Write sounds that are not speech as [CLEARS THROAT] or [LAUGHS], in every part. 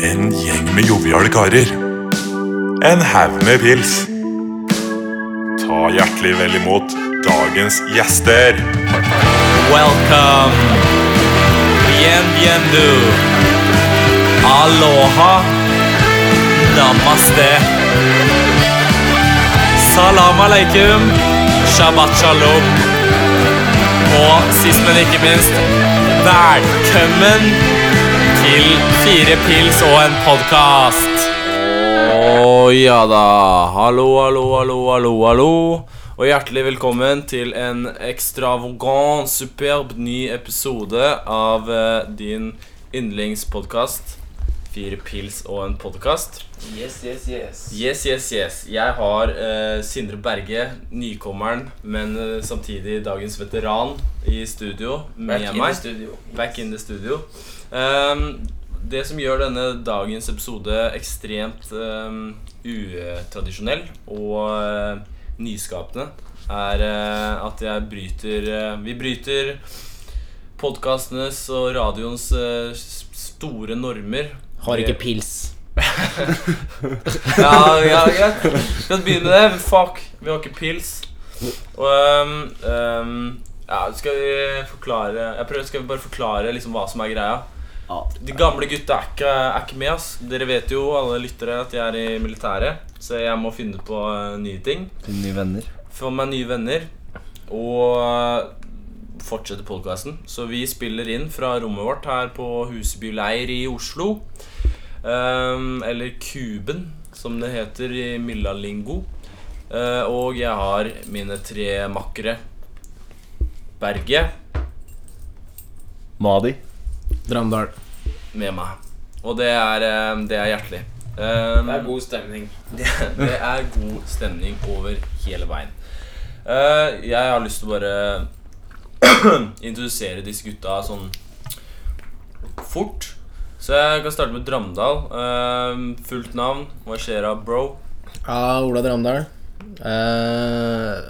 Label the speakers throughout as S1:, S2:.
S1: En gjeng med joviale karer. En haug med pils. Ta hjertelig vel imot dagens gjester.
S2: Welcome. Bienvenue. Aloha. Namaste. Salam aleikum. Shabbat shalom. Og sist, men ikke minst, velkommen til Fire pils og en podkast. Å ja da. Hallo, hallo, hallo, hallo, hallo. Og hjertelig velkommen til en ekstravagant, superb ny episode av eh, din yndlingspodkast Fire pils og en podkast.
S3: Yes, yes, yes.
S2: Yes, yes, yes. Jeg har eh, Sindre Berge, nykommeren, men eh, samtidig dagens veteran i studio med
S3: Back in the
S2: meg.
S3: studio.
S2: Back in the studio. Ehm, det som gjør denne dagens episode ekstremt ehm, utradisjonell og eh, nyskapende, er eh, at jeg bryter eh, Vi bryter podkastenes og radioens eh, s- store normer.
S4: Har ikke pils.
S2: Ja, ja, greit. Skal vi begynne med det? Fuck, vi har ikke pils. Og ehm, ehm, ja, Skal vi forklare Jeg prøver, Skal vi bare forklare liksom hva som er greia?
S4: Ja.
S2: De gamle gutta er ikke, er ikke med. ass Dere vet jo, alle lyttere, at jeg er i militæret. Så jeg må finne på eh, nye ting.
S4: Nye venner.
S2: Få meg nye venner. Og eh, fortsette podkasten. Så vi spiller inn fra rommet vårt her på Huseby leir i Oslo. Ehm, eller Kuben, som det heter i Millalingo. Eh, og jeg har mine tre makkere. Berge
S4: Madi. Dramdal.
S2: med meg. Og det er, eh, det er hjertelig. Ehm,
S3: Det er god stemning.
S2: [LAUGHS] Det, det er god stemning over hele veien. Eh, jeg har lyst til å bare [CLEARS THROAT] introdusere disse gutta sånn fort. Så jeg kan starte med Dramdal. Eh, fullt navn. Hva skjer da, bro?
S4: Ja, Ola Dramdal. Eh,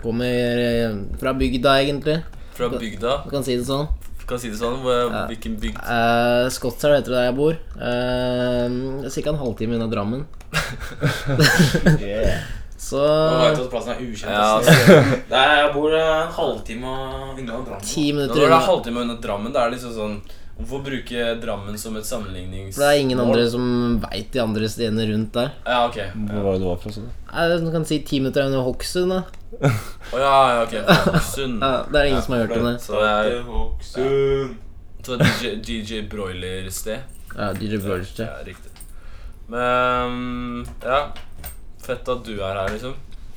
S4: kommer eh, fra bygda, egentlig.
S2: Fra bygda.
S4: Man kan si det sånn.
S2: Kan si det sånn. Hva- Hvilken bygd?
S4: Uh, Skotselv heter det der jeg bor. Eh, det er Ca. en halvtime unna Drammen. Så
S3: Nå har jeg tatt plassen er ukjent.
S2: Ja,
S3: ass. Der jeg bor eh, en halvtime unna Drammen.
S4: ti
S2: Når
S4: minutter
S2: det er
S4: unna.
S2: halvtime unna Drammen, da er det liksom sånn Hvorfor bruke Drammen som et sammenlignings...
S4: For det er ingen andre som veit de andre stedene rundt der.
S2: Ja, ok.
S5: Hvor var det du var fra? Sånn?
S4: Eh, Du kan si ti minutter er under Hokksund, da.
S2: Å ja, ja, ok. Sund.
S4: Ja, det er ingen som har hørt om det.
S2: Så det er
S3: Hokksund.
S2: så det er DJ, DJ Broiler-sted.
S4: Ja, DJ Burger.
S2: Ja, riktig. Men ja. Fett at du er her, liksom.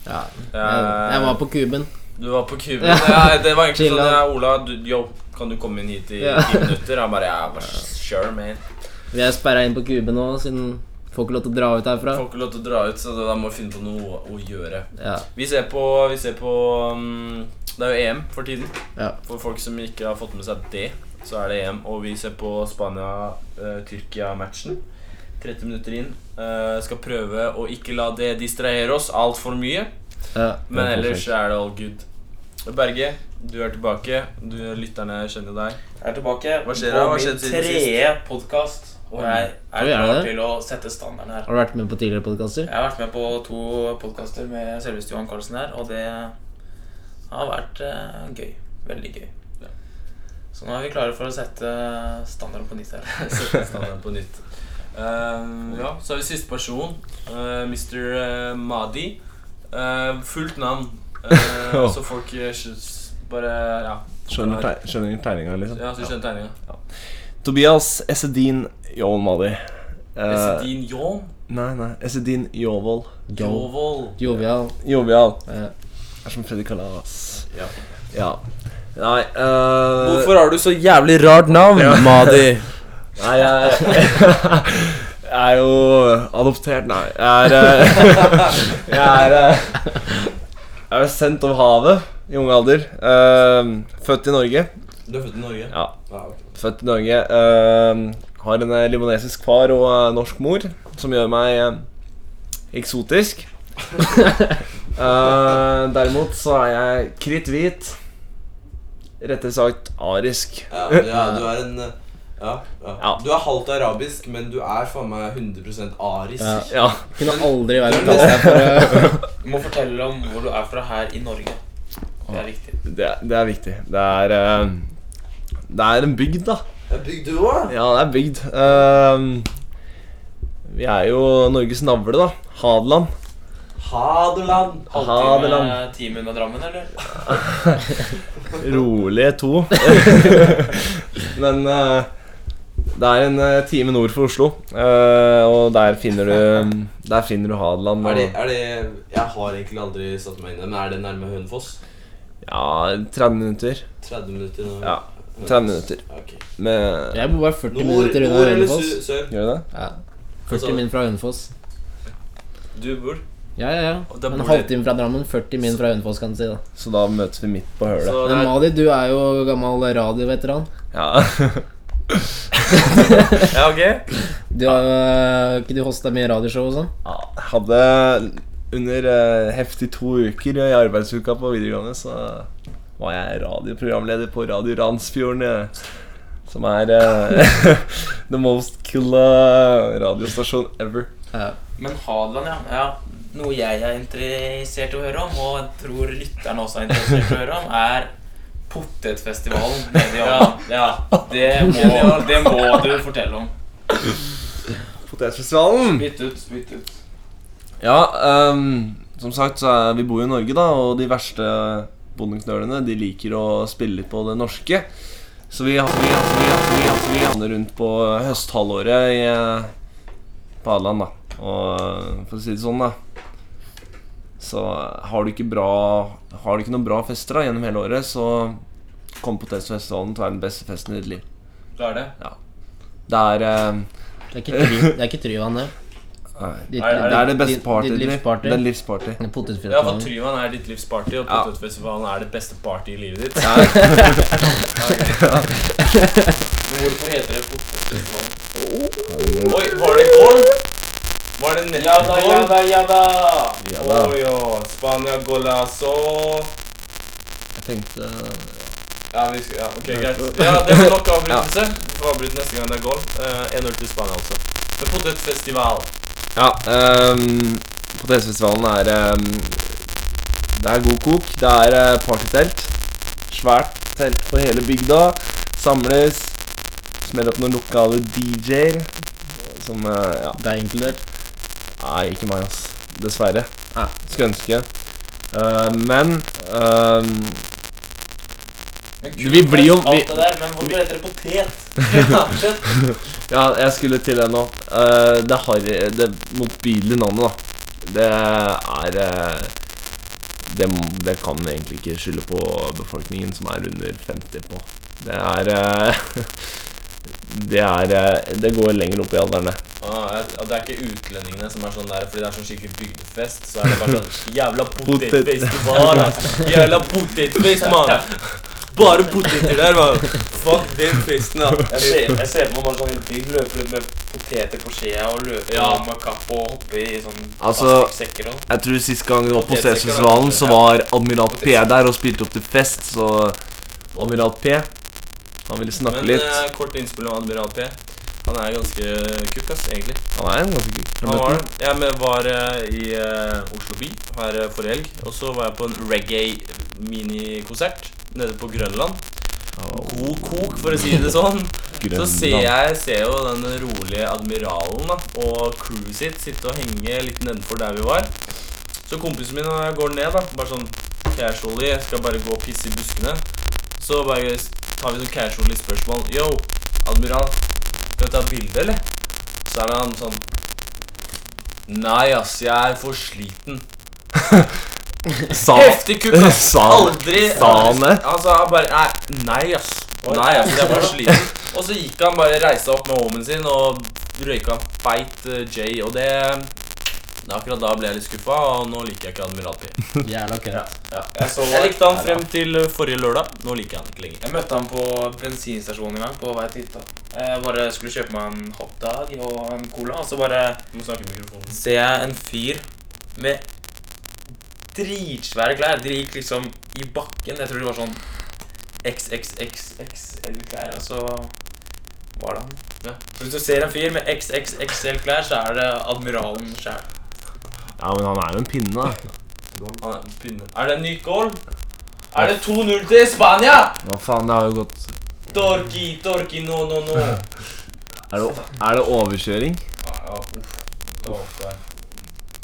S4: Ja. Jeg,
S2: Jeg-
S4: jeg var på Kuben.
S2: Du var på Cuba.
S4: Ja.
S2: Ja, det var egentlig
S4: Chill
S2: sånn
S4: out.
S2: ja, Ola, du, yo, kan du komme inn hit i
S4: Ja.
S2: ti minutter? Han bare ja, vær s- sure, man.
S4: Vi er sperra inn på Kuben nå, siden får ikke lov til å dra ut herfra.
S2: Får ikke lov til å dra ut, så da må vi finne på noe å gjøre.
S4: Ja,
S2: Vi ser på, vi ser på um, Det er jo EM for tiden.
S4: Ja.
S2: For folk som ikke har fått med seg det, så er det EM. Og vi ser på Spania-Tyrkia-matchen. 30 minutter inn. Eh, skal prøve å ikke la det distrahere oss altfor mye.
S4: ja.
S2: Men ellers er det all good. Berge, du er tilbake. Du, lytterne kjenner deg.
S3: Jeg er tilbake
S2: Hva skjer da? Hva
S3: på
S2: skjedde
S3: min
S2: siden
S3: tredje podkast. Og
S4: Oi,
S3: jeg er
S4: er
S3: klar
S4: det?
S3: til å sette standarden her.
S4: Har du vært med på tidligere podkaster?
S3: Jeg har vært med på to podkaster med selveste Johan Carlsen her, og det har vært eh, gøy. Veldig gøy. Så nå er vi klare for å sette eh, standarden på nytt her.
S2: Sette standarden på nytt. Eh, ja, så har vi siste person. eh, Mr. eh, Madi. Eh, fullt navn. Eh, så folk eh, skj- s- bare Ja.
S5: Skjønner, teg skjønner tegninga, liksom.
S2: Ja, så du skjønner tegninga.
S5: Tobias Essedin Jovold Madi. Eh,
S2: Esedin Jom.
S5: nei, nei. Essedin Jovold.
S2: Jovold.
S4: Jovial.
S5: Jovial.
S4: Ja.
S5: Er som Freddy Kalas.
S2: Ja.
S5: Ja. Nei eh,
S2: har du så jævlig rart navn, Madi?
S5: [LAUGHS] Nei, jeg, [LAUGHS] jeg er jo adoptert, nei. Jeg er eh, [LAUGHS] Jeg er eh, Jeg er sendt over havet i ung alder. Eh, født i Norge.
S2: Du er født i Norge?
S5: Ja.
S6: Ah,
S2: ok.
S5: Født i Norge. eh, har en eh, libanesisk far og eh, norsk mor, som gjør meg eh, eksotisk. Eh, derimot så er jeg kritthvit. Rettere sagt arisk.
S2: Ja, du er, du er en eh,
S6: Ja, ja.
S5: Ja.
S6: Du er halvt arabisk, men du er faen meg 100 arisk. [LAUGHS]
S4: Ja.
S5: Ja.
S4: Kunne aldri være kalt deg for eh,
S3: Du må fortelle om hvor du er fra her i Norge. Det er viktig.
S5: Det, er- det er viktig. Det er eh, Det er en bygd, da.
S6: Det er bygd du òg.
S5: Ja, det er bygd. Eh, vi er jo Norges navle, da. Hadeland.
S6: Hadeland.
S5: Hadeland.
S3: Halvtime, time unna Drammen, eller?
S5: Rolige to. [LAUGHS] Men eh, det er en eh, time nord for Oslo, eh, og der finner du Der finner du Hadeland.
S6: Er det,
S5: Og,
S6: er det Jeg har egentlig aldri satt meg inn i det, men er det nærme Hønefoss?
S5: ja, 30 minutter.
S6: 30 minutter nå?
S5: Ja, 30 minutter.
S6: Ok.
S5: Med
S4: Jeg bor bare 40
S6: Nord,
S4: minutter unna
S6: nord eller
S4: Hønefoss.
S6: su- sør?
S5: Gjør du det?
S4: Ja.
S2: Altså-
S4: 40 min fra Hønefoss.
S6: Du bor
S4: Ja, ja, ja.
S2: Og da
S4: En
S2: bor du-
S4: halvtime fra Drammen, 40 min fra Hønefoss, kan du si. da
S5: Så da møtes vi midt på hølet.
S2: Så det
S4: Men
S2: er,
S4: Mali, du er jo gammel radioveteran.
S5: Ja. [LAUGHS]
S2: ja, ok.
S4: Du har jo ikke du hosta mye radioshow og sånn?
S5: Ja, Hadde under eh, heftig to uker i arbeidsuka på videregående, så var jeg radioprogramleder på Radio Randsfjorden. eh, Som er eh, [LAUGHS] the most cool eh, radiostasjon ever.
S4: Ja.
S3: Men Hadeland, ja. ja. Noe jeg er interessert i å høre om, og jeg tror lytterne også er interessert i å høre om, er potetfestivalen nede i Hadeland. Ja, det, [LAUGHS] må, det må du fortelle om.
S5: Potetfestivalen!
S3: Bytt ut, bytt ut.
S5: Ja, ehm, som sagt, så er, vi bor jo i Norge, da, og de verste bondeknølene de liker å spille litt på det norske. Så vi havner vi, vi, vi, vi, vi havner rundt på høsthalvåret i, eh, på Adeland, da. Og eh, for å si det sånn, da Så eh, har du ikke bra Har du ikke noen bra fester da gjennom hele året, så kommer Potetfestivalen til å være den beste festen i ditt liv.
S3: Det er det.
S5: Det er eh,
S4: Det er ikke
S2: [LAUGHS]
S4: try- det er ikke Tryvann, det. Ditt-
S5: det, er det beste
S4: ditt-
S5: partyet
S4: ditt
S5: ditt liv.
S4: livsparty.
S5: Det er livsparty.
S4: Potetfritt.
S2: Ja, for Tryvann er ditt livs party, og
S5: Ja.
S2: Potetfestivalen er det beste party i livet ditt. [LAUGHS]
S3: Men hvorfor heter det potetfestivalen?
S2: Oi, var det goal? Var det nettopp goal?
S3: ja da!
S5: Ja, da.
S2: Ojo, Spania golazo.
S5: Jeg tenkte
S4: eh,
S2: Ja, vi skal, ja, ok, greit. Ja, det var nok avbrytelse. Vi får avbryte neste gang det er goal. Eh, 1-0 til Spania, altså. Men potetfestival
S5: Ja, um, potetfestivalen er ehm, Det er god kok. Det er eh, partytelt. Svært telt for hele bygda. Samles. Smeller opp noen lokale DJ-er. Som eh, Ja.
S4: Det
S2: [LAUGHS]
S4: er inkludert.
S5: Nei, ikke meg, ass. Dessverre. Skulle ønske. Eh, men ehm,
S3: Men
S5: Vi blir jo-
S3: Alt det der, men hvorfor heter det potet? [LAUGHS] Ja, shit.
S5: Ja, jeg skulle til det nå. Eh, det har det motbydelige navnet, da. Det er eh, det, det kan vi egentlig ikke skylde på befolkningen som er under 50 på. Det er eh, [LAUGHS] Det er eh, Det går lenger opp i alderen, det.
S2: Ah, jeg- og det er ikke utlendingene som er sånn der fordi det er sånn skikkelig bygdefest. Så er det bare sånn Jævla potetfestival, altså. Jævla potetfest, mann. Bare poteter der, mann. Fuck den festen, da.
S3: Jeg ser, jeg ser på meg bare sånn De løper rundt med poteter på skjea og løper
S2: Ja.
S3: med kapp og hopper i sånn
S5: Altså-
S3: plastikksekker og sånn.
S5: Jeg tror sist gang vi var på
S2: Potetsekker,
S5: Sesfestivalen, så
S2: da.
S5: var Admiral P der og spilte opp til fest, så Admiral P Han ville snakke
S2: Men
S5: litt.
S2: eh, kort innspill om Admiral P. Han er ganske kukk, ass, egentlig.
S5: Han er en ganske kul
S2: Han var, jeg med- var eh, i eh, Oslo by her eh, forrige helg, og så var jeg på en reggae-minikonsert nede på Grønland. God kok, for å si det sånn. Så ser jeg ser jo den rolige admiralen da, og crewet sitt sitte og henge litt nedenfor der vi var. Så kompisen min og jeg går ned, da, bare sånn casually. Jeg skal bare gå og pisse i buskene. Så bare tar vi sånn casually spørsmål. Yo, admiral, skal vi ta bilde, eller? Så er han sånn Nei, ass, jeg er for sliten.
S5: Sa-
S2: Heftig kukk, ass.
S5: Sa
S2: Aldri
S5: sa han det?
S2: Han sa bare Nei, nei ass. Nei, ass, jeg er for sliten. Og så gikk han bare reiste seg opp med homien sin og røyka en feit eh, J, og det det er Akkurat da ble jeg litt skuffa, og nå liker jeg ikke Admiral P.
S4: Jævla kødd.
S3: Jeg, så,
S2: Jeg likte han frem til eh, forrige lørdag. Nå liker jeg han ikke lenger.
S3: Jeg møtte han på bensinstasjonen en gang på vei til hytta. Jeg bare skulle kjøpe meg en hotdog og en cola, og så bare
S2: Du må snakke i mikrofonen.
S3: ser jeg en fyr med dritsvære klær. De gikk liksom i altså bakken. Jeg tror det var sånn XXXXL-klær. Og så var det han. Så Hvis du ser en fyr med XXXL-klær, så er det admiralen sjæl.
S5: Ja, men han er jo en pinne, da.
S3: Han er pinne. Er det en ny goal? Er det 2-0 til Spania?
S5: Hva faen, det har jo gått
S3: Torki, Torki, no, no, no.
S5: Er det, er det overkjøring?
S2: Ja, uff. Det var opp der.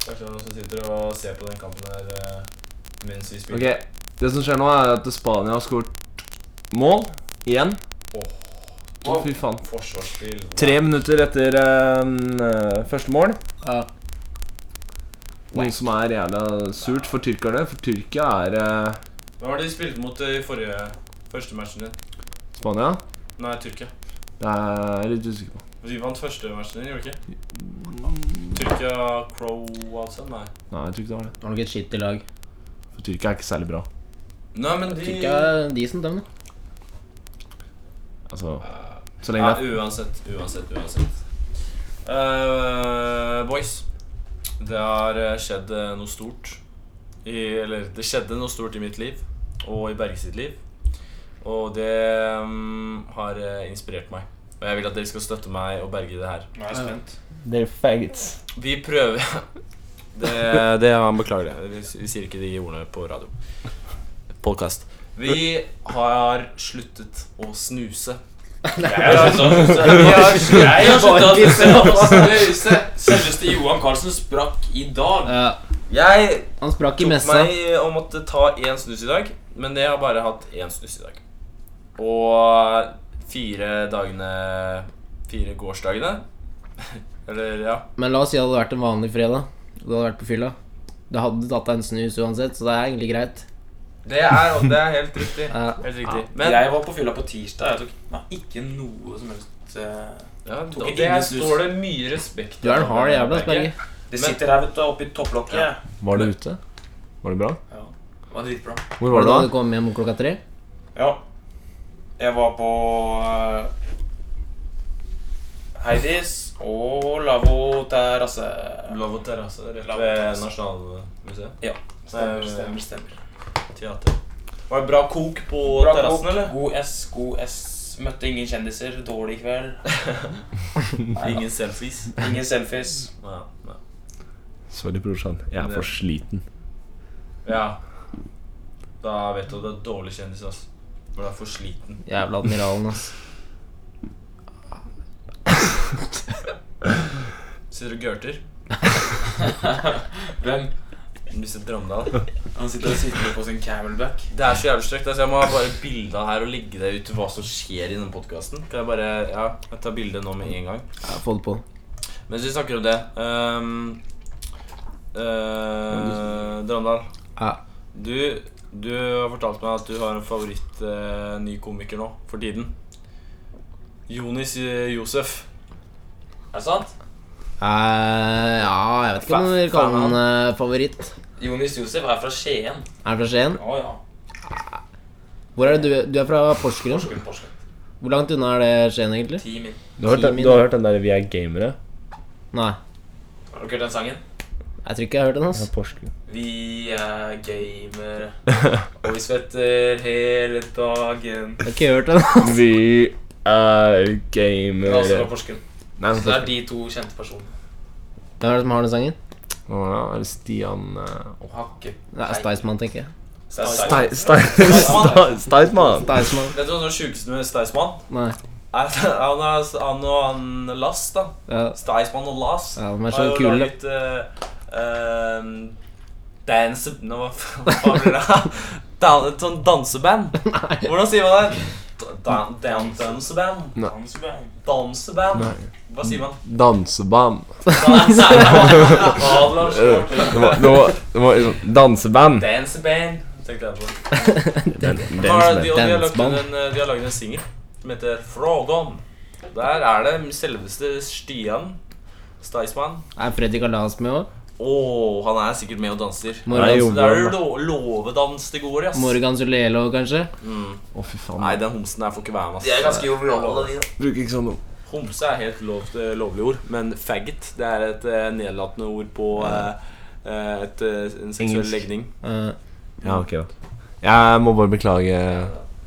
S2: Kanskje det er noen som sitter og ser på den kampen her eh, mens vi
S5: Ok,
S2: spiller.
S5: Det som skjer nå, er at Spania har skåret mål igjen. Å, fy faen.
S2: Forsvarsspill.
S5: Tre minutter etter eh, første mål.
S4: Ja.
S5: Noe som er jævla surt for tyrkerne, for Tyrkia er eh,
S2: Hvem var det de spilte mot eh, i forrige første matchen din?
S5: Spania.
S2: Nei, Tyrkia.
S5: Det er jeg litt usikker på.
S2: De vant første matchen din, gjorde de ikke? Tyrkia Croatia? Nei.
S5: Nei, jeg tror ikke det var det.
S4: Har nok et skitt i lag.
S5: For Tyrkia er ikke særlig bra.
S2: Nei, men de
S4: Tyrkia er decent, dem, da.
S5: Altså Så lenge
S2: Ja,
S5: det er
S2: uansett, uansett, uansett. Eh, boys, det har eh, skjedd eh, noe stort. I, eller det skjedde noe stort i mitt liv, og i Berge sitt liv. Og det mm, har eh, inspirert meg. Og jeg vil at dere skal støtte meg og Berge i det her.
S3: Nå er jeg spent.
S5: Dere faggots.
S2: Vi prøver [LAUGHS] Det, det han beklager det. Vi, vi sier ikke de ordene på radio. Podcast. Vi har sluttet å snuse.
S3: Jeg
S2: [LAUGHS]
S3: har slutta å tisse og snuse. Selveste Johan Carlsen sprakk i dag.
S4: Ja.
S2: Jeg
S4: Han sprakk i
S2: tok
S4: messa.
S2: meg og måtte ta én snus i dag, men jeg har bare hatt én snus i dag. Og fire dagene Fire gårsdagene. [LAUGHS] Eller, ja.
S4: Men la oss si at det hadde vært en vanlig fredag. og Du hadde vært på fylla. Du hadde tatt deg en snus uansett, så det er egentlig greit.
S2: Det er, det er helt riktig.
S4: Ja.
S2: Helt riktig. Men
S3: Men jeg var på fylla på tirsdag. Jeg tok nei, ikke noe som helst eh,
S2: ja,
S3: tok
S2: og det
S3: ingen snus.
S2: står det mye respekt eh,
S4: Du er en hard jævla, Sperge.
S3: Det sitter her, vet du, oppi topplokket.
S2: Ja.
S5: Var det ute? Var det bra?
S3: Det var dritbra.
S5: Hvor
S4: Var
S5: var
S4: det da du
S5: det da?
S4: kom hjem klokka tre?
S3: Ja. Jeg var på eh, Heidis og Lavvo terrasse.
S2: Lavvo terrasse rett
S3: Lavvo
S2: ved
S3: terrasse.
S2: Nasjonalmuseet.
S3: Ja.
S2: Nei,
S3: Stemmer, stemmer. stemmer.
S2: Teater. Var det bra kok på
S3: Bra
S2: terrassen,
S3: kok,
S2: eller?
S3: God S, god S. Møtte ingen kjendiser. Dårlig [LAUGHS] kveld. Nei,
S2: [LAUGHS] Ingen selfies.
S3: da. Ingen selfies.
S2: Ja, ja.
S5: Sorry, brorsan. Jeg er for sliten.
S2: Ja. Da vet du at du er dårlig kjendis, ass. For du er for sliten.
S4: Jævla admiralen, ass.
S2: Sitter og gørter.
S3: Hvem?
S2: Mr. Drømdal.
S3: Han sitter og sitter på sin camelback.
S2: Det er så jævlig strekt. Altså, jeg må ha bare bilde av her og ligge det ut hva som skjer i denne podkasten. Kan jeg bare Ja, jeg tar bilde nå med en gang.
S4: [LAUGHS] Ja, få det på.
S2: Mens vi snakker om det ehm, eh, Drømdal.
S4: Ja.
S2: Du, du har fortalt meg at du har en favoritt eh, ny komiker nå for tiden. Jonis eh, Josef.
S3: Er det sant?
S4: Eh, ja, jeg vet ikke om dere kaller han eh, favoritt.
S3: Jonis Josef er fra Skien.
S4: Er han fra Skien?
S3: Å ja.
S4: Hvor er det du, du er fra Porsgrunn?
S3: Porsgrunn, Porsgrunn.
S4: Hvor langt unna er det Skien, egentlig?
S3: Ti min.
S5: Du har hørt den, du har hørt den der 'Vi er gamere'?
S4: Nei,
S3: Har dere hørt den sangen?
S4: jeg tror ikke jeg har hørt den. ass
S5: Ja, Porsgrunn.
S3: Vi eh, er gamere, og vi svetter hele dagen.
S4: Jeg har ikke hørt den [LAUGHS]
S5: Vi er
S3: altså,
S2: Altså,
S3: Det er også fra
S5: gamere
S3: Porsgrunn.
S5: Nei,
S3: Så det er de to kjente personene.
S4: Hvem er det som har den sangen?
S5: Er det Stian eh,
S3: Og Hakke.
S4: Det er Staysman, tenker jeg.
S3: Stein.
S5: Steitmann?
S4: Staysman.
S2: Vet du hva som er det sjukeste med Staysman?
S4: Nei.
S2: Er at [LAUGHS] Han, er, han og han Lass, da.
S4: Ja, [LAUGHS]
S2: Staysman og Lass
S4: ja de er så
S2: har jo
S4: kule.
S2: laget eh, ehm, Dance... Nå, hva faen hva faen blir det? [LAUGHS] Dan, et sånn
S4: [LAUGHS]
S2: danseband. Hvordan sier man det? Dan, dan, danseband. Danseband.
S5: Nei.
S2: Hva sier man?
S5: Danseband.
S2: Danseband. Adler,
S5: Eh,
S2: skjorte.
S5: Det var, det var, det var liksom Danseband.
S2: Danseband. Tenkte jeg på.
S5: Den-
S2: Nå har de, og de
S5: danseband.
S2: har lagt
S4: Danseband.
S2: en, eh, de har laget en singel som heter Frågon. Der er det selveste Stian Staysman.
S4: Er Freddy Kalas med òg?
S2: Åh, han er sikkert med og danser.
S5: Nei,
S4: Morgan,
S5: jo.
S2: Det er jo lo låvedans det går i, ass.
S4: Morgan Solelo, kanskje?
S5: Å, fy
S2: Nei,
S5: faen.
S2: den homsen der får ikke være med, ass.
S3: De er ganske joviale, de. da.
S5: Bruk ikke sånn ord.
S2: Homse er helt lov, eh, lovlig ord, men faggot det er et eh, nedlatende ord på eh, eh, et, eh, en seksuell
S5: Engelsk.
S2: legning.
S4: Eh,
S5: Ja, ok, da. Jeg må bare beklage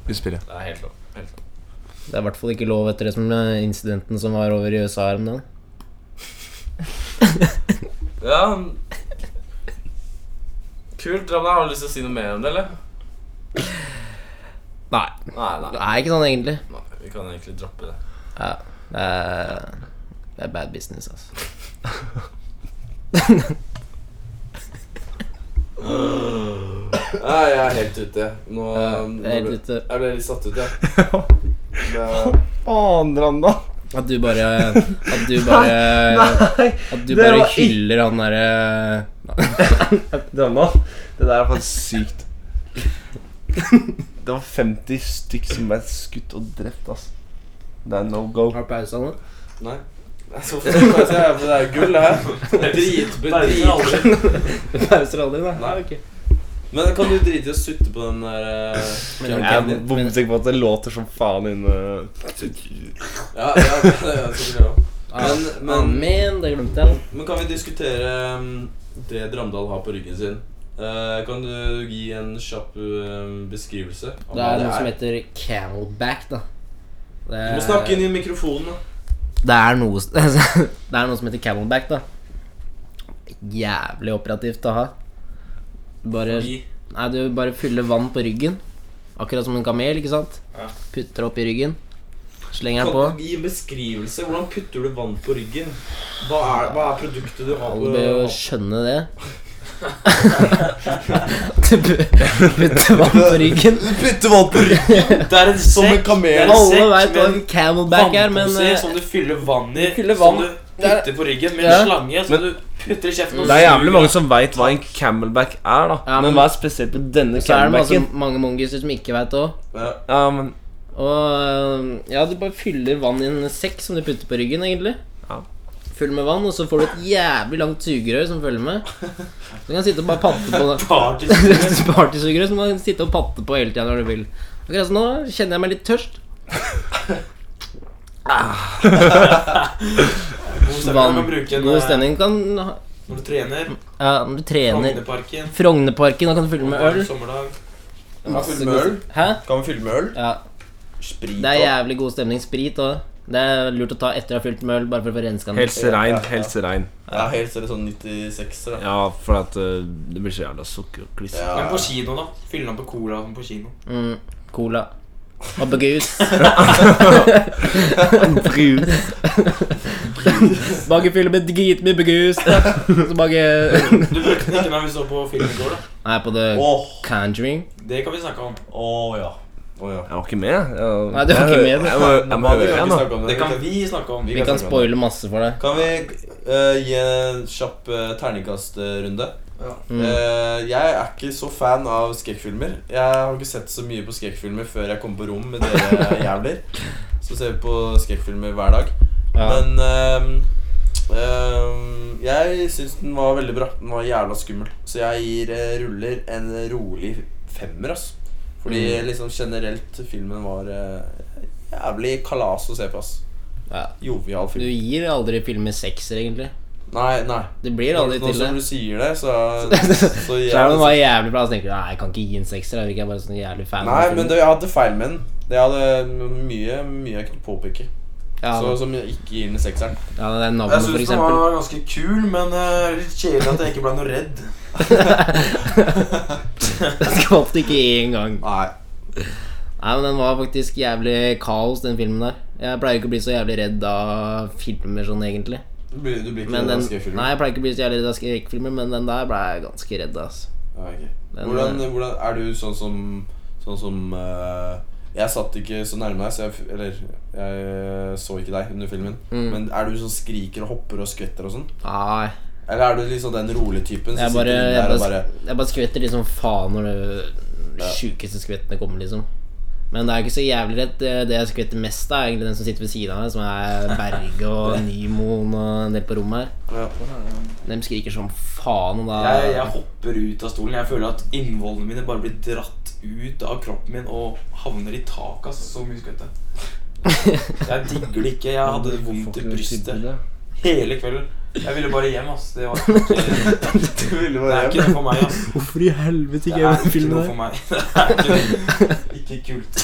S5: utspillet.
S2: Det er helt lov. Helt lov.
S4: Det er i hvert fall ikke lov etter det som eh, incidenten som var over i USA her om
S5: [LAUGHS]
S4: dagen.
S2: Ja Kult. Ramla, har du lyst til å si noe mer om det, eller?
S4: Nei,
S2: Nei, nei.
S4: det er ikke sånn egentlig.
S2: nei vi kan egentlig droppe det.
S4: Ja, det er, det er bad business,
S5: [LAUGHS]
S4: altså.
S2: Nei, jeg er helt ute. Nå,
S4: Jeg er helt ute.
S2: Jeg ble litt satt ut, jeg.
S5: Faen, Randa.
S4: At du bare At du bare,
S5: Nei.
S4: at du
S5: det
S4: bare
S5: var ikke-
S4: hyller han eh, derre
S5: Drømma. Det der er faktisk sykt. Det var 50 stykk som ble skutt og drept, altså. Det er no go.
S4: Har du pause [LAUGHS] nå?
S2: Nei.
S3: Jeg så for meg at jeg- for det er gull, det her. Dritbud- drit-
S4: Pauser aldri, da. Nei, ok.
S2: Men kan du drite i å sutte på den der eh,
S4: Men,
S5: Jeg er
S4: ok, men,
S5: bombesikker på at det låter som faen eh, inne
S2: Ja, ja, det skal vi gjøre. Men-
S4: men,
S2: men-
S4: men, det glemte jeg.
S2: Men kan vi diskutere um, det Dramdal har på ryggen sin? Eh, kan du gi en kjapp um, beskrivelse? av
S4: Det
S2: hva
S4: er noe som heter camelback, da. Det,
S2: Du må snakke inn i mikrofonen. da.
S4: det er noe [LAUGHS] Det er noe som heter camelback, da. Jævlig operativt å ha. Du Bare,
S3: Fordi-
S4: nei, du bare fyller vann på ryggen. Akkurat som en kamel, ikke sant?
S3: Ja.
S4: Putter opp i ryggen. Slenger den på.
S2: Kan du gi en beskrivelse? Hvordan putter du vann på ryggen? Hva er, hva er produktet du har
S4: Alle
S2: på
S4: bør jo skjønne
S3: [LAUGHS]
S4: det. du bu- putter vann på ryggen.
S5: Bytte vann på ryggen
S3: Det er en sekk
S5: kamel.
S3: det er en
S4: Alle
S3: sekk
S4: veit hva
S3: med sånn
S4: en camelback er, men
S3: vannpose
S4: eh,
S3: som du fyller vann i.
S4: fyller vann.
S3: Som du putter på ryggen med
S4: Ja.
S3: en slange. Som
S5: Men-
S3: du putter i kjeften og
S5: Det er jævlig
S3: suger.
S5: mange som veit hva en camelback er, da.
S4: Ja, men-
S5: Men hva er spesielt med denne
S4: så er det masse,
S5: camelbacken?
S4: mange mongiser som ikke veit det òg.
S5: Ja, men
S4: Og øhm, ja, du bare fyller vann i en sekk som du putter på ryggen, egentlig.
S5: Ja.
S4: Full med vann, og så får du et jævlig langt sugerør som følger med. Du kan sitte og bare patte på det. [LAUGHS] Et Partysugerør som du kan sitte og patte på hele tida når du vil. Akkurat som nå kjenner jeg meg litt tørst.
S3: Så kan
S4: Vann.
S3: man bruke en,
S4: God stemning. Kan, ha-
S3: eh, Når du trener.
S4: ja, når du trener
S3: Havneparken.
S4: Frognerparken, da kan du fylle med øl.
S3: Sommerdag.
S4: Masse god- Hæ?
S5: Kan vi fylle med øl?
S4: Ja.
S5: Sprit
S4: Det er jævlig god stemning. Sprit òg. Det er lurt å ta etter å ha fylt med øl, bare for å få renska den.
S5: Helse rein, helse rein.
S2: Ja, helt seriøst sånn 96-er. da.
S5: Ja, for at eh, det blir så jævla sukkerkliss.
S4: [LAUGHS]
S3: Men på kino, da. Fyller den på cola som på kino.
S4: Mm, cola. Og bagus.
S5: Brus.
S4: Mange filmer dritmye
S2: [LAUGHS]
S4: bagus. Så mange
S3: Du brukte den ikke når vi så på film i går, da.
S4: Nei, på The
S2: Åh,
S4: Conjuring.
S3: Det kan vi snakke om.
S2: åh, ja. Åh, ja.
S5: Jeg var ikke med. Jeg,
S4: Nei, du var ikke med, du.
S5: Jeg, må- jeg, må høre
S2: vi kan
S5: igjen,
S2: ikke
S5: da.
S2: snakke om
S3: Det
S2: det.
S3: kan vi snakke om.
S4: Vi kan
S2: snakke om det.
S4: spoile masse for deg.
S2: Kan vi eh, gi en kjapp eh, terningkastrunde?
S3: Ja.
S4: Mm.
S2: Eh, jeg er ikke så fan av skrekkfilmer. Jeg har ikke sett så mye på skrekkfilmer før jeg kom på rom med dere
S4: [LAUGHS]
S2: jævler. Så ser vi på skrekkfilmer hver dag.
S4: Ja.
S2: Men ehm, ehm, jeg syns den var veldig bra. Den var jævla skummel. Så jeg gir eh, Ruller en rolig femmer, ass. Fordi
S4: Mm.
S2: liksom generelt filmen var eh, jævlig kalas å se på, ass.
S4: Ja.
S2: Jovial
S4: Du
S2: film.
S4: gir aldri filmer sekser, egentlig.
S2: Nei, nei.
S4: Det blir aldri
S2: Nå
S4: til det.
S2: som du altså. sier det, så,
S4: [LAUGHS]
S2: så gir jeg
S4: Selv om den
S2: det-
S4: var jævlig bra, så tenker du nei, jeg kan ikke gi en sekser. Jeg er bare sånn jævlig fan av
S2: Nei,
S4: filmen.
S2: men det, jeg hadde feil med den. Det hadde mye, mye jeg kunne påpeke.
S4: ja,
S2: Så, som jeg ikke gir den sekseren.
S4: ja, det er navnet, for eksempel.
S3: ganske kul, men eh, litt kjedelig at jeg ikke ble noe redd.
S4: [LAUGHS] Jeg skvatt ikke én gang.
S2: [LAUGHS] Nei.
S4: Nei, men den var faktisk jævlig kaos, den filmen der. Jeg pleier ikke å bli så jævlig redd av filmer sånn, egentlig.
S2: Du blir, du blir ikke
S4: Men
S2: noe
S4: den,
S2: skrekkfilm.
S4: nei, jeg pleier ikke å bli så jævlig redd av skrekkfilmer, men den der ble jeg ganske redd av. ass.
S2: Ja, ok.
S4: Den- eh,
S2: hvordan, hvordan Er du sånn som Sånn som eh, Jeg satt ikke så nærme deg, så jeg, f- eller jeg så ikke deg under filmen.
S4: Mm.
S2: Men er du sånn skriker og hopper og skvetter og sånn?
S4: Nei.
S2: Eller er du liksom den rolige typen som
S4: Jeg bare,
S2: sitter inne
S4: jeg,
S2: der og
S4: bare,
S2: bare
S4: jeg bare skvetter liksom faen når de sjukeste skvettene kommer, liksom. Men det er ikke så jævlig rett. Det, det jeg skvetter mest, av, er egentlig den som sitter ved siden av meg, som er Berge
S3: [LAUGHS]
S4: og Nymoen og en del på rommet her. De skriker som faen, og da
S3: Jeg, jeg hopper ut av stolen. Jeg føler at innvollene mine bare blir dratt ut av kroppen min og havner i taket. ass. Så mye skvett
S4: [LAUGHS]
S3: jeg. Jeg digger det ikke. Jeg hadde vondt i brystet hele kvelden. Jeg ville bare hjem, ass. Det, var
S4: [LAUGHS]
S3: ikke, det er ikke noe for meg, ass.
S4: Hvorfor i helvete
S3: [LAUGHS] Det er ikke noe for meg. Det er ikke,
S2: Ikke kult.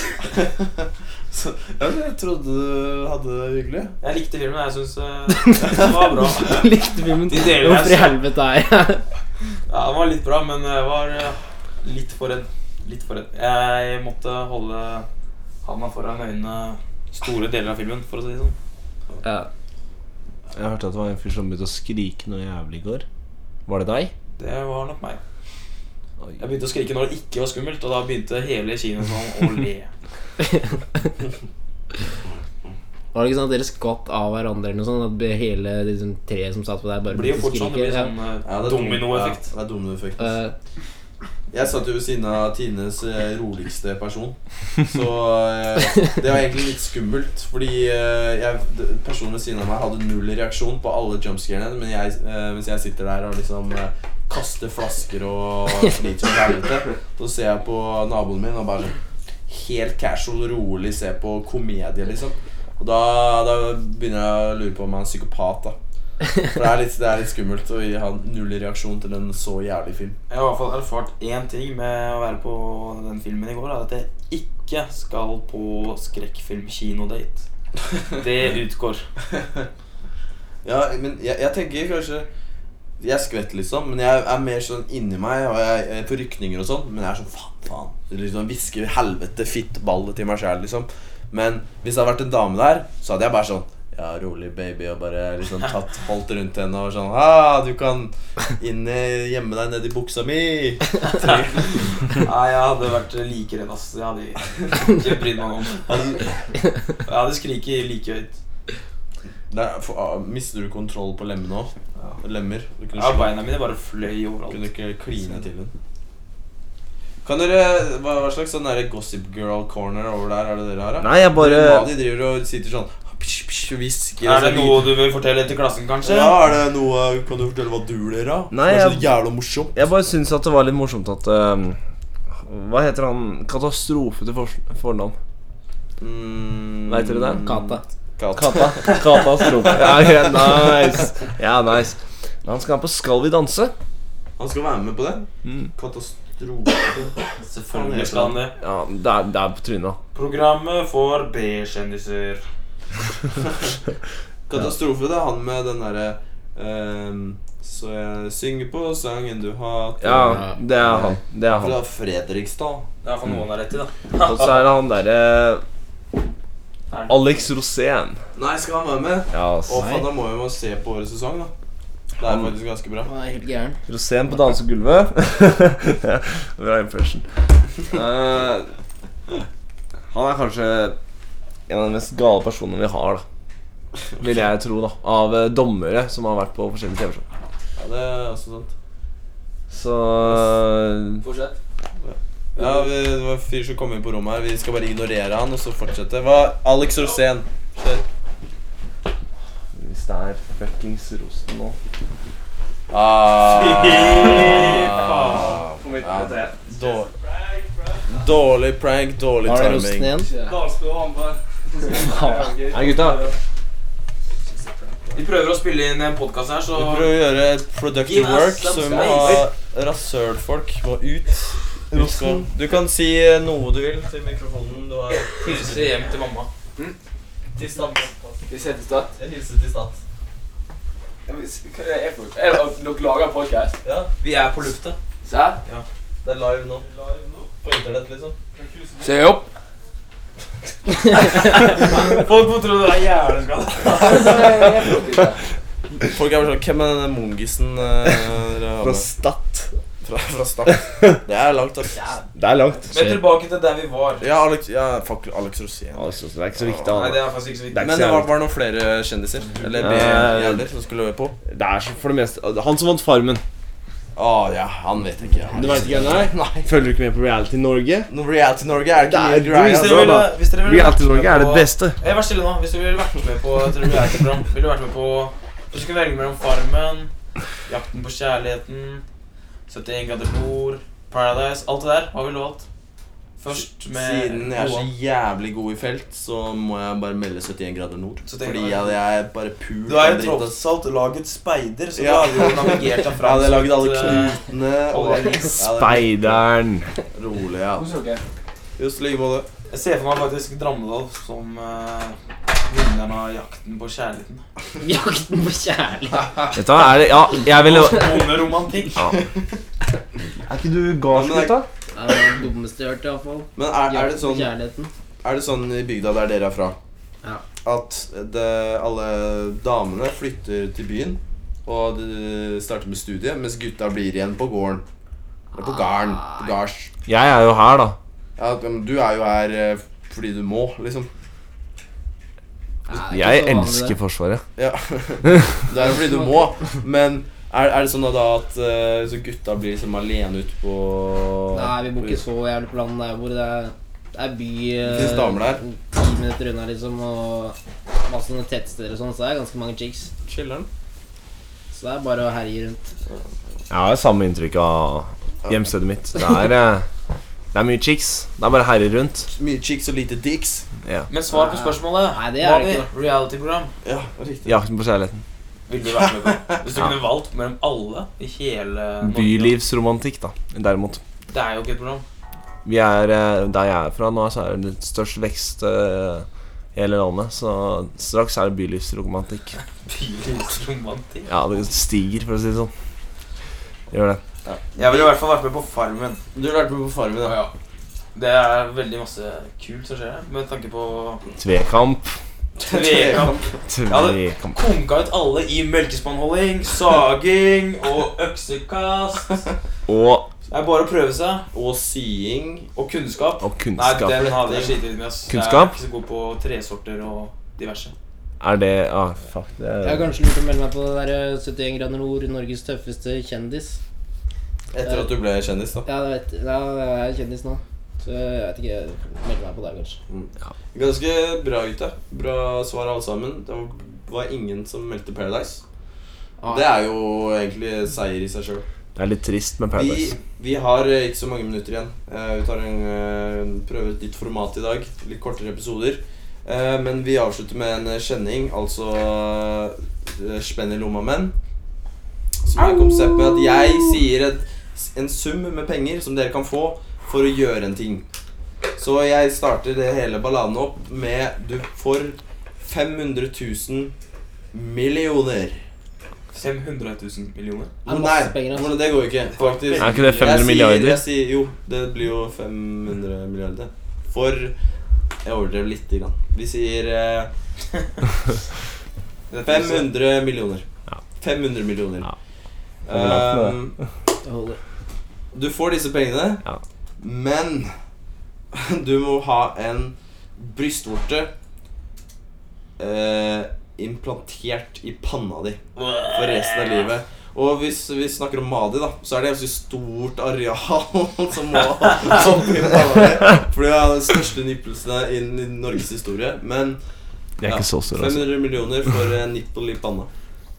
S5: Så, ja, jeg trodde du hadde det hyggelig.
S3: Jeg likte filmen. Jeg syns den var bra.
S4: [LAUGHS] [LAUGHS] Likte filmen.
S3: De deler
S4: Hvorfor i
S3: jeg så-
S4: helvete er jeg
S3: Ja, den var litt bra, men jeg var eh, litt for redd. Litt for redd. Jeg måtte holde handa foran øynene store deler av filmen, for å si det sånn.
S4: ja.
S5: Jeg hørte at det var en fyr som begynte å skrike noe jævlig i går. Var det deg?
S3: Det var nok meg.
S5: Oi.
S3: Jeg begynte å skrike når det ikke var skummelt, og da begynte hele kinosalen å le.
S4: Var det ikke sånn at dere skvatt av hverandre eller noe sånt? At be- hele liksom, treet som satt på der,
S3: Det
S4: bare
S3: blir jo fort
S4: begynte å
S3: sånn. Det
S4: skrike?
S3: blir sånn eh,
S2: Ja, det er dum-
S3: dominoeffekt.
S2: Ja, det er dominoeffekt.
S4: Ja. Eh,
S2: Jeg satt jo ved siden av Tines eh, roligste person. Så eh, det var egentlig litt skummelt. Fordi eh, jeg, d- personen ved siden av meg hadde null reaksjon på alle jumpscarene. Men jeg, eh, mens jeg sitter der og liksom eh, kaster flasker og sliter som helvete, så ser jeg på naboen min og bare sånn helt casual, rolig ser på komedie, liksom. Og da, da begynner jeg å lure på om han er en psykopat, da. For det er litt, det er litt skummelt å ha null reaksjon til en så jævlig film.
S3: Jeg har i hvert fall erfart én ting med å være på den filmen i går, er at jeg ikke skal på
S2: [LAUGHS]
S3: skrekkfilm-kinodate. Det utgår.
S2: Ja, men jeg, jeg tenker kanskje Jeg skvetter litt sånn, men jeg er mer sånn inni meg og jeg er på rykninger og sånn. Men jeg er sånn faen, faen. Liksom Hvisker helvete fittballet til meg sjæl, liksom. Men hvis det hadde vært en dame der, så hadde jeg bare sånn ja, rolig, baby, og bare
S3: [LAUGHS]
S2: liksom tatt holdt rundt henne og sånn ah, Du kan inn i- gjemme deg nedi buksa
S3: [LAUGHS]
S2: mi.
S3: Nei, jeg hadde vært like redd, ass. Jeg hadde ikke brydd meg [LAUGHS] om Jeg hadde skriket like høyt.
S2: Der, for, ah, mister du kontroll på lemmene òg? Lemmer. Du kunne
S3: Ja,
S2: slå-
S3: beina mine bare fløy
S2: Kunne
S3: overalt.
S2: ikke kline til hun. Kan dere, hva, hva slags sånn der gossip girl corner over der er det dere har? da?
S5: Nei, jeg bare
S2: De driver og sitter sånn psh, psh, hvisker
S3: Er det noe du vil fortelle til klassen, kanskje?
S2: Ja, er det noe Kan du fortelle hva du ler av?
S5: Nei,
S2: det er
S5: jeg-
S2: så jævla morsomt.
S5: Jeg bare syns at det var litt morsomt at ehm, Hva heter han Katastrofe til for fornavn?
S2: Mm,
S5: Vet dere det?
S4: Kata.
S2: Kat.
S5: Kata. Katastrofe. Ja, ja, nice. Ja, nice. Men Han skal på Skal vi danse.
S2: Han skal være med på det?
S5: Mm.
S2: Katastrofe.
S3: Selvfølgelig skal han det. sånn.
S5: Ja, det er, det er på trynet. da.
S3: Programmet for B-kjendiser.
S2: Katastrofe, det er han med den derre ehm, Så jeg synger på sangen du hater
S5: Ja, det er han. Det er han.
S2: Fra Fredrikstad.
S3: Det er for noen har rett i, da.
S5: Og så er det han derre Alex Rosén.
S2: Nei, skal han være med?
S5: Ja,
S2: Og
S5: ass.
S2: faen, da må vi jo se på årets sesong, da. Det er faktisk ganske bra.
S4: Han er helt gæren.
S5: Rosén på dansegulvet. [LAUGHS] Bra impression. Eh, han er kanskje en av de mest gale personene vi har, da. Vil jeg tro, da. Av eh, dommere som har vært på forskjellige TV-show.
S2: Ja, det er også sant.
S5: Så
S3: Fortsett.
S2: Ja, vi, Det var en fyr som kom inn på rommet her. Vi skal bare ignorere han og så fortsette. Hva? Alex Rosén. Kjør.
S5: Hvis det er fuckings Rosen nå
S2: Ah, ja, dår- dårlig prank, dårlig
S4: Har dere osten
S2: timing.
S4: igjen?
S5: Hei, gutta.
S3: Vi prøver å spille inn en podkast her,
S2: Vi
S3: så
S2: prøver å gjøre et productive
S3: Gi meg
S2: work,
S3: some
S2: så vi må ha rasølfolk. Må ut. Rosen. Du kan si eh, noe du vil til mikrofonen. Du har
S3: hilse hjem til mamma.
S2: til stat.
S7: Mm. Vi ses i start.
S2: Jeg hilser til stat.
S7: Hva er det for noe? Er det- Dere lager podkast?
S2: Ja,
S3: Vi er på lufta.
S7: Serr?
S2: det er live nå. På internett, liksom.
S7: Se opp.
S3: Folk må tro du er hjerneskada.
S2: Folk er bare sånn Hvem er denne mongisen [LAUGHS] eh, dere har
S5: Fra
S2: med?
S5: Stad.
S2: fra, fra [LAUGHS] start? Det er langt, ass.
S5: Det er langt.
S3: Men tilbake til der vi var.
S2: Ja, Alex, ja, fuck Alex Rosén.
S5: Alex Rosén det er ikke Altså, så viktig.
S3: Nei,
S5: Han.
S3: det er faktisk ikke så viktig.
S5: Det er
S2: Men det
S5: ikke så
S2: var,
S5: jævlig.
S2: var det noen flere kjendiser? Eller
S5: Eh,
S2: B-jævler som skulle på?
S5: Det er så for det meste Han som vant Farmen.
S2: Å ja, han vet ikke. jeg.
S5: Du veit ikke hvem det er? Følger du ikke med på Reality Norge?
S2: No, Reality Norge er ikke
S5: Det er
S2: helt greia.
S5: Hvis
S3: Hvis
S5: dere
S2: altså.
S3: dere
S5: ville-
S3: ville, hvis dere ville
S5: Reality Norge er det beste.
S3: Hey, Eh, vær stille nå. Hvis du ville vært med på et reality-program, ville du vært med på Du skulle velge mellom Farmen, Jakten på kjærligheten, 71 grader nord, Paradise Alt det der. Hva ville du valgt? Først med
S2: Siden jeg er så
S3: Roan.
S2: jævlig god i felt, så må jeg bare melde 71 grader nord.
S3: 71
S2: Fordi
S3: grader.
S2: jeg, jeg er bare pul.
S3: Du er
S2: av
S3: jo
S2: dritt, ass.
S3: tross alt laget speider, så
S2: Ja.
S3: du hadde jo navigert
S2: [LAUGHS]
S3: deg
S2: Jeg
S3: fram.
S2: hadde laget alle
S3: til, eh,
S5: [LAUGHS]
S2: knutene og
S3: Olje.
S2: Ja, det er
S5: Speideren.
S2: Rolig, ja.
S7: Kos dere.
S2: Just i like måte.
S3: Jeg ser for meg faktisk Drammedal som eh, vinneren av Jakten på kjærligheten.
S4: Jakten på kjærlighet.
S5: Dette er det Ja, jeg ville
S3: Bonde romantikk.
S5: Er ikke du gardsgutt, da?
S4: Det er det dummeste jeg har hørt, iallfall.
S2: Men er, er, det
S4: Jakten på
S2: sånn,
S4: kjærligheten.
S2: er det sånn i bygda der dere er fra,
S4: Ja.
S2: at det, alle damene flytter til byen og de starter med studiet, mens gutta blir igjen på gården? Eller på garden. På gards.
S5: Jeg er jo her, da.
S2: Ja, men du er jo her eh, fordi du må, liksom.
S4: Nei, det er
S5: Jeg
S4: ikke så vanlig,
S5: elsker
S4: det.
S5: Forsvaret.
S2: Ja. [LAUGHS] Det er jo fordi du må, men er, er det sånn da at eh, så gutta blir liksom alene ute på
S4: Nei, vi bor ikke så jævlig på landet der hvor det er, det er by eh,
S2: finnes damer der.
S4: Ti minutter unna, liksom, og masse sånne tettsteder og sånn, så det er ganske mange chicks.
S2: Chiller'n.
S4: Så det er bare å herje rundt.
S5: Jeg har samme inntrykk av hjemstedet mitt. Det er, eh, det er mye chicks. Det er bare herrer rundt.
S2: Mye chicks og lite dicks.
S3: Men svar på spørsmålet.
S4: Nei, det er det
S3: Mani,
S4: ikke,
S3: Reality-program
S2: Ja, riktig.
S5: Jakten på kjærligheten.
S3: ville du vært med
S2: [LAUGHS]
S3: på. Hvis du
S5: Ja.
S3: kunne valgt mellom alle i hele Norge.
S5: Bylivsromantikk, da. Derimot.
S3: Det er jo ikke et program.
S5: Vi er eh, der jeg er fra nå, så er det størst vekst eh, i hele landet. Så straks er det bylivsromantikk.
S3: Bylivsromantikk.
S5: Ja, det stiger, for å si det sånn. Gjør det.
S3: Jeg ville i hvert fall vært med på Farmen.
S2: Du har vært med på Farmen, da.
S3: Det er veldig masse kult som skjer her, med tanke
S2: [LAUGHS]
S3: på
S5: Tvekamp.
S3: trekamp.
S5: Tvekamp.
S3: Konka ut alle i melkespannholding, saging og øksekast.
S5: Og,
S3: Det er bare å prøve seg.
S2: Og sying.
S3: Og kunnskap.
S5: og
S3: Nei,
S5: kunnskap.
S3: den har vi skitt litt med oss.
S5: Kunnskap?
S3: Jeg er ikke så god på tresorter og diverse.
S5: Er det ah, fuck. Det
S4: Jeg har
S5: er,
S4: kanskje lurt å melde meg på det der eh, 71 grader nord, Norges tøffeste kjendis.
S2: Etter at du ble kjendis, da.
S4: Ja, jeg vet, ja, jeg er kjendis nå. Så jeg vet ikke, jeg melder meg på det kanskje.
S2: Ganske bra, gutta. Bra svar, alle sammen. Det var- var ingen som meldte Paradise.
S4: Ah,
S2: Det er jo egentlig seier i seg sjøl.
S5: det er litt trist med
S2: Vi,
S5: Paradise.
S2: vi har eh, ikke så mange minutter igjen. Eh, vi tar en, eh, prøver et nytt format i dag. Litt kortere episoder. Eh, men vi avslutter med en eh, kjenning, altså eh, Spenn i lomma menn. Som er konseptet med at jeg sier et, en sum med penger som dere kan få for å gjøre en ting. Så jeg starter det hele balladen opp med du får 500 000 millioner.
S3: 500 000 millioner.
S4: Det er masse penger, altså.
S2: hvordan- det går jo ikke, faktisk.
S5: Er ikke det 500
S2: Jeg sier-
S5: milliarder?
S2: Jeg sier, jo, det blir jo 500 milliarder. For Jeg overdrev lite grann. Vi sier
S4: [LAUGHS]
S2: eh, 500 millioner.
S5: Ja.
S2: 500 millioner.
S5: Ja.
S2: Ehm,
S4: Det holder.
S2: du får disse pengene,
S5: Ja.
S2: men [LAUGHS] du må ha en brystvorte eh, implantert i panna di for resten av livet. Og hvis vi snakker om Madi, da så er det et ganske stort areal som må som blir Madi. For det er den største nippelsene i i Norges historie. Men
S5: Jeg er
S2: ja,
S5: ikke så stor, altså.
S2: 500 millioner for eh, nippel i panna.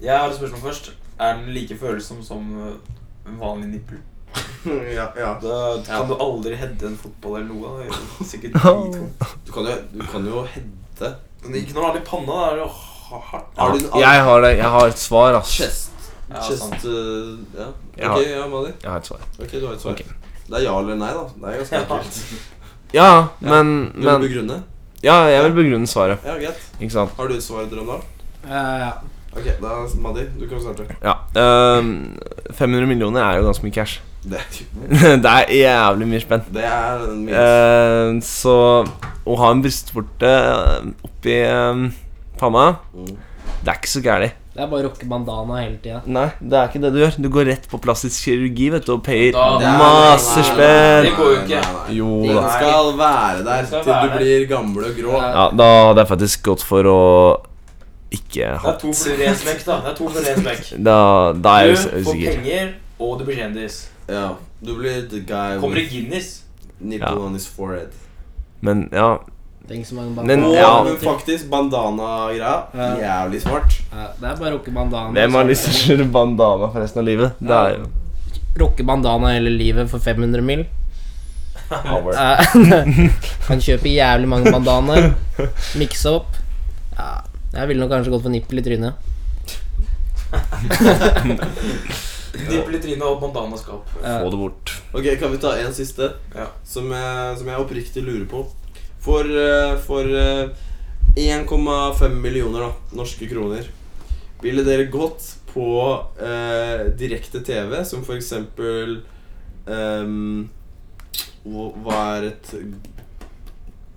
S3: Jeg har et spørsmål først. Er den like følsom som øh, en vanlig nippel?
S2: ja, ja.
S3: Da kan du aldri hedde en fotball eller noe. da. Det er Sikkert dritvondt.
S2: Du kan jo, du kan jo hedde
S3: Men ikke når du har det i panna. Da er det jo ha- hardt.
S2: Har du en
S5: Jeg har, det, jeg har et svar, ass.
S2: chest?
S3: Ja,
S2: chest
S3: sant.
S2: eh, ja.
S5: Ja.
S2: Ok, ja, Madi.
S5: Jeg har et svar.
S2: Ok, du har et svar.
S5: Ok.
S2: Det er ja eller nei, da. Det er ganske enkelt.
S5: Ja, men,
S2: Vil du
S5: men
S2: begrunne?
S5: Ja, jeg vil begrunne svaret.
S2: Ja, greit.
S5: Ikke sant?
S2: Har du et svar, Drømdal?
S4: Ja, ja.
S2: Ok, da Madi, du kan starte.
S5: Ja. ehm, 500 millioner er jo ganske mye cash.
S2: Det er,
S5: [LAUGHS] det er jævlig mye spenn.
S2: det er minst.
S5: Eh, så å ha en brystvorte oppi eh, panna,
S2: Mm.
S5: det er ikke så gærent.
S4: Det er bare å rocke bandana hele tida.
S5: Nei, det er ikke det du gjør. Du går rett på plastisk kirurgi vet du, og payer
S3: Da-
S2: Det er-
S5: masse
S2: nei, nei,
S5: spenn.
S3: Det går jo ikke.
S2: Nei, nei, nei.
S5: Jo
S2: Den
S5: da.
S2: skal være der
S3: Den skal
S2: til du
S3: være der.
S2: blir gammel og grå.
S4: Ja.
S5: Ja, da hadde jeg faktisk gått for å ikke
S3: Det
S5: ha
S3: er to fluer i en smekk, da. Det er to fluer i en smekk.
S5: Da, da er jeg
S3: Du
S5: us-
S3: får
S5: usikker.
S3: penger, og du blir kjendis.
S2: Ja, du blir the guy
S3: Kommer i
S2: with
S3: Guinness.
S2: nipple
S5: Ja.
S2: on his forehead.
S5: Men ja,
S4: Tenk så mange
S5: Men-
S2: Og
S4: bandana.
S5: ja.
S2: men faktisk, bandana-greia.
S4: Ja.
S2: Jævlig smart.
S4: Ja, det er bare å rocke bandana. altså.
S5: hvem har lyst til å kjøre liksom bandana for resten av livet? Det er jo
S4: Rocke bandana hele livet for 500 mil.
S5: Howard.
S4: Eh, [LAUGHS] kan kjøpe jævlig mange bandanaer. Mikse opp. Ja, jeg ville nok kanskje gått for nippel i trynet.
S3: Nippel i trynet og bandanaskap.
S4: Eh,
S5: Få det bort.
S2: Ok, Kan vi ta en siste,
S3: Ja.
S2: som, jeg, som jeg oppriktig lurer på? For, eh, for eh, 1,5 millioner da, norske kroner Ville dere gått på eh, direkte TV, som for eksempel ehm, hva hva er et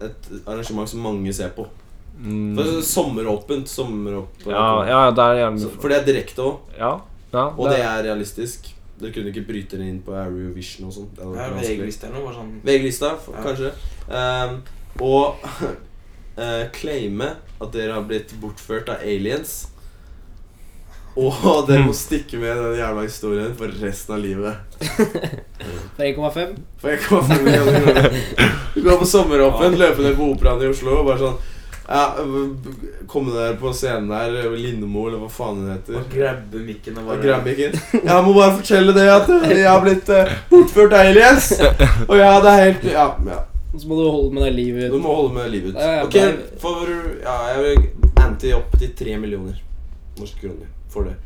S2: et arrangement som mange ser på? For det er Sommeråpent. sommeråpent
S5: Ja, Mm. ja, det er gjerne
S2: For det er direkte òg.
S5: Ja. ja
S2: Og det er realistisk. Dere kunne ikke bryte det inn på Eurovision og sånn. Det hadde
S3: Det er
S2: vært vanskelig.
S3: VG-lista eller noe bare sånn
S2: VG-lista, f-
S3: Ja.
S2: kanskje. Ehm, og [LAUGHS] eh, claime at dere har blitt bortført av aliens. Og [LAUGHS] dere må stikke med den jævla historien for resten av livet.
S4: For 1,5?
S2: For jeg kommer med millioner kroner. Du går på sommeråpen, løper ned på Operaen i Oslo og bare sånn ja, b- Komme dere på scenen der, Lindemo eller hva faen hun heter.
S3: Grabbe mikken og
S2: Og
S3: bare
S2: Grammiken. Jeg må bare fortelle det at eh, jeg har blitt eh, bortført av aliens. Og ja, det er helt Ja. ja.
S4: Så må du holde med deg livet
S2: Du
S4: ut.
S2: må holde med livet ut.
S4: Ja, ja,
S2: Ok,
S4: bare-
S2: for Ja, jeg vil ante opp til tre millioner norske kroner for det.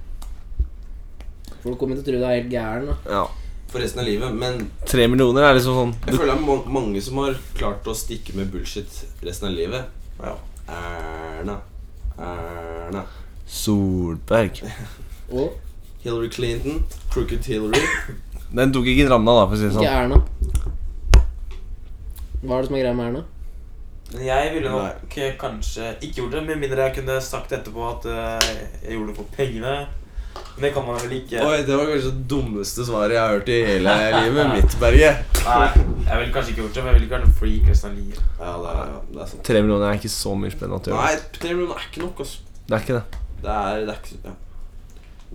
S4: Folk kommer til å tro du er helt gæren. da
S5: [LAUGHS] ja.
S2: For resten av livet. Men
S5: Tre millioner er liksom sånn
S2: jeg føler det er ma mange som har klart å stikke med bullshit resten av livet.
S3: Ja.
S2: Erna. Erna.
S5: Solberg.
S4: Og
S2: Hillary Clinton. Crooked Hillary.
S5: Den tok ikke Dramna, da, for å si det
S4: ikke
S5: sånn.
S4: Erna. Hva er det som er greia med Erna?
S3: Men jeg ville nok eh, kanskje ikke gjort det, med mindre jeg kunne sagt etterpå at eh, jeg gjorde det for pengene. Men det kan man vel ikke.
S2: Oi, det var kanskje det dummeste svaret jeg har hørt i hele livet mitt, Berge.
S3: Nei, jeg ville kanskje ikke gjort det, men jeg ville ikke vært en freak resten av livet.
S2: Ja, det er, det er sant.
S5: Tre millioner er ikke så mye spennende at du gjør.
S2: Nei, tre millioner er ikke nok, altså.
S5: Det er ikke det.
S2: Det er, det er ikke ja.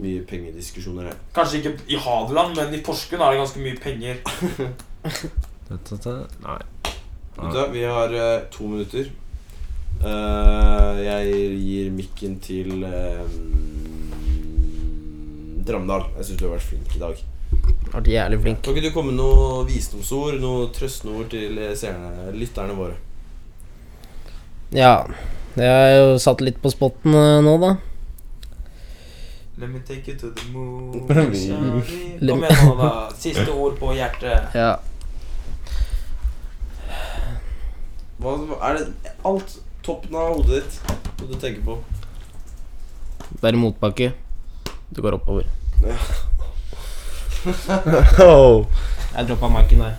S2: mye pengediskusjoner her.
S3: Kanskje ikke i Hadeland, men i Porsgrunn er det ganske mye penger.
S5: Dette- dette- Nei.
S2: Vet du, hva, vi har eh, to minutter. Eh, jeg gir mikken til eh, Dramdal. Jeg syns du har vært flink i dag.
S4: Har vært jævlig flink.
S2: Kan ikke du komme med noe visdomsord, noe trøstende ord til eh, seerne, lytterne våre?
S4: Ja. Jeg er jo satt litt på spotten eh, nå, da.
S3: Let me take you to the moon.
S5: Let me-
S3: shawty.
S4: Let
S3: Kom
S4: me-
S3: igjen nå, da. Siste ord på hjertet.
S4: Ja.
S2: Hva er det alt toppen av hodet ditt som du tenker på?
S4: Det er i motbakke. Du går oppover. Jeg droppa marken der.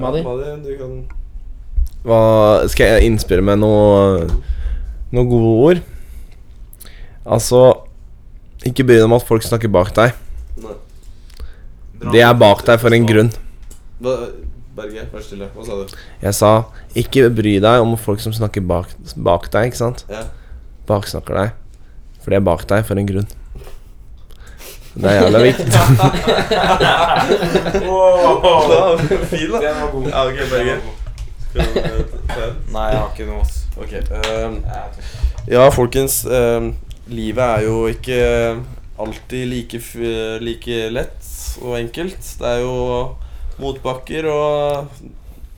S4: Madi?
S2: Madi, du kan
S5: Hva Skal jeg innspille med noe Noen gode ord? Altså Ikke bry deg om at folk snakker bak deg.
S2: Nei.
S5: De er bak deg for en grunn.
S2: Hva- Berge, vær stille. Hva sa du?
S5: Jeg sa ikke bry deg om folk som snakker bak, bak deg, ikke sant?
S2: Ja.
S5: Baksnakker deg. For de er bak deg for en grunn. Det er jævla viktig.
S3: Wow.
S2: Fin, da.
S3: Den var god.
S2: Ja, ok, Berge.
S3: Nei, jeg har ikke noe, ass.
S2: [LAUGHS] Ok. ehm,
S3: Jeg-
S2: ja, folkens. ehm, livet er jo ikke alltid like, f- like lett og enkelt. Det er jo motbakker og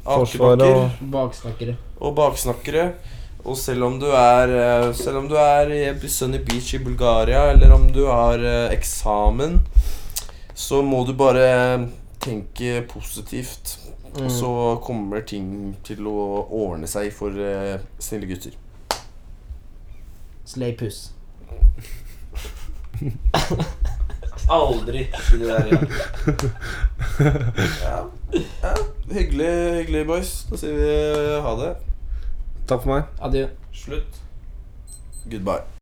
S5: Forsvar
S2: akebakker
S5: og-
S2: og,
S4: Baksnakkere.
S2: baksnakkere. Og selv om du er eh, Selv om du er eh, i Sunny Beach i Bulgaria, eller om du har eh, eksamen, så må du bare tenke positivt. Og så kommer ting til å ordne seg for eh, snille gutter.
S4: Slay puss.
S3: Aldri si det der igjen.
S2: Hyggelig, hyggelig, boys. Da sier vi eh, ha det.
S5: Takk for meg.
S4: Adjø.
S3: Slutt.
S2: Goodbye.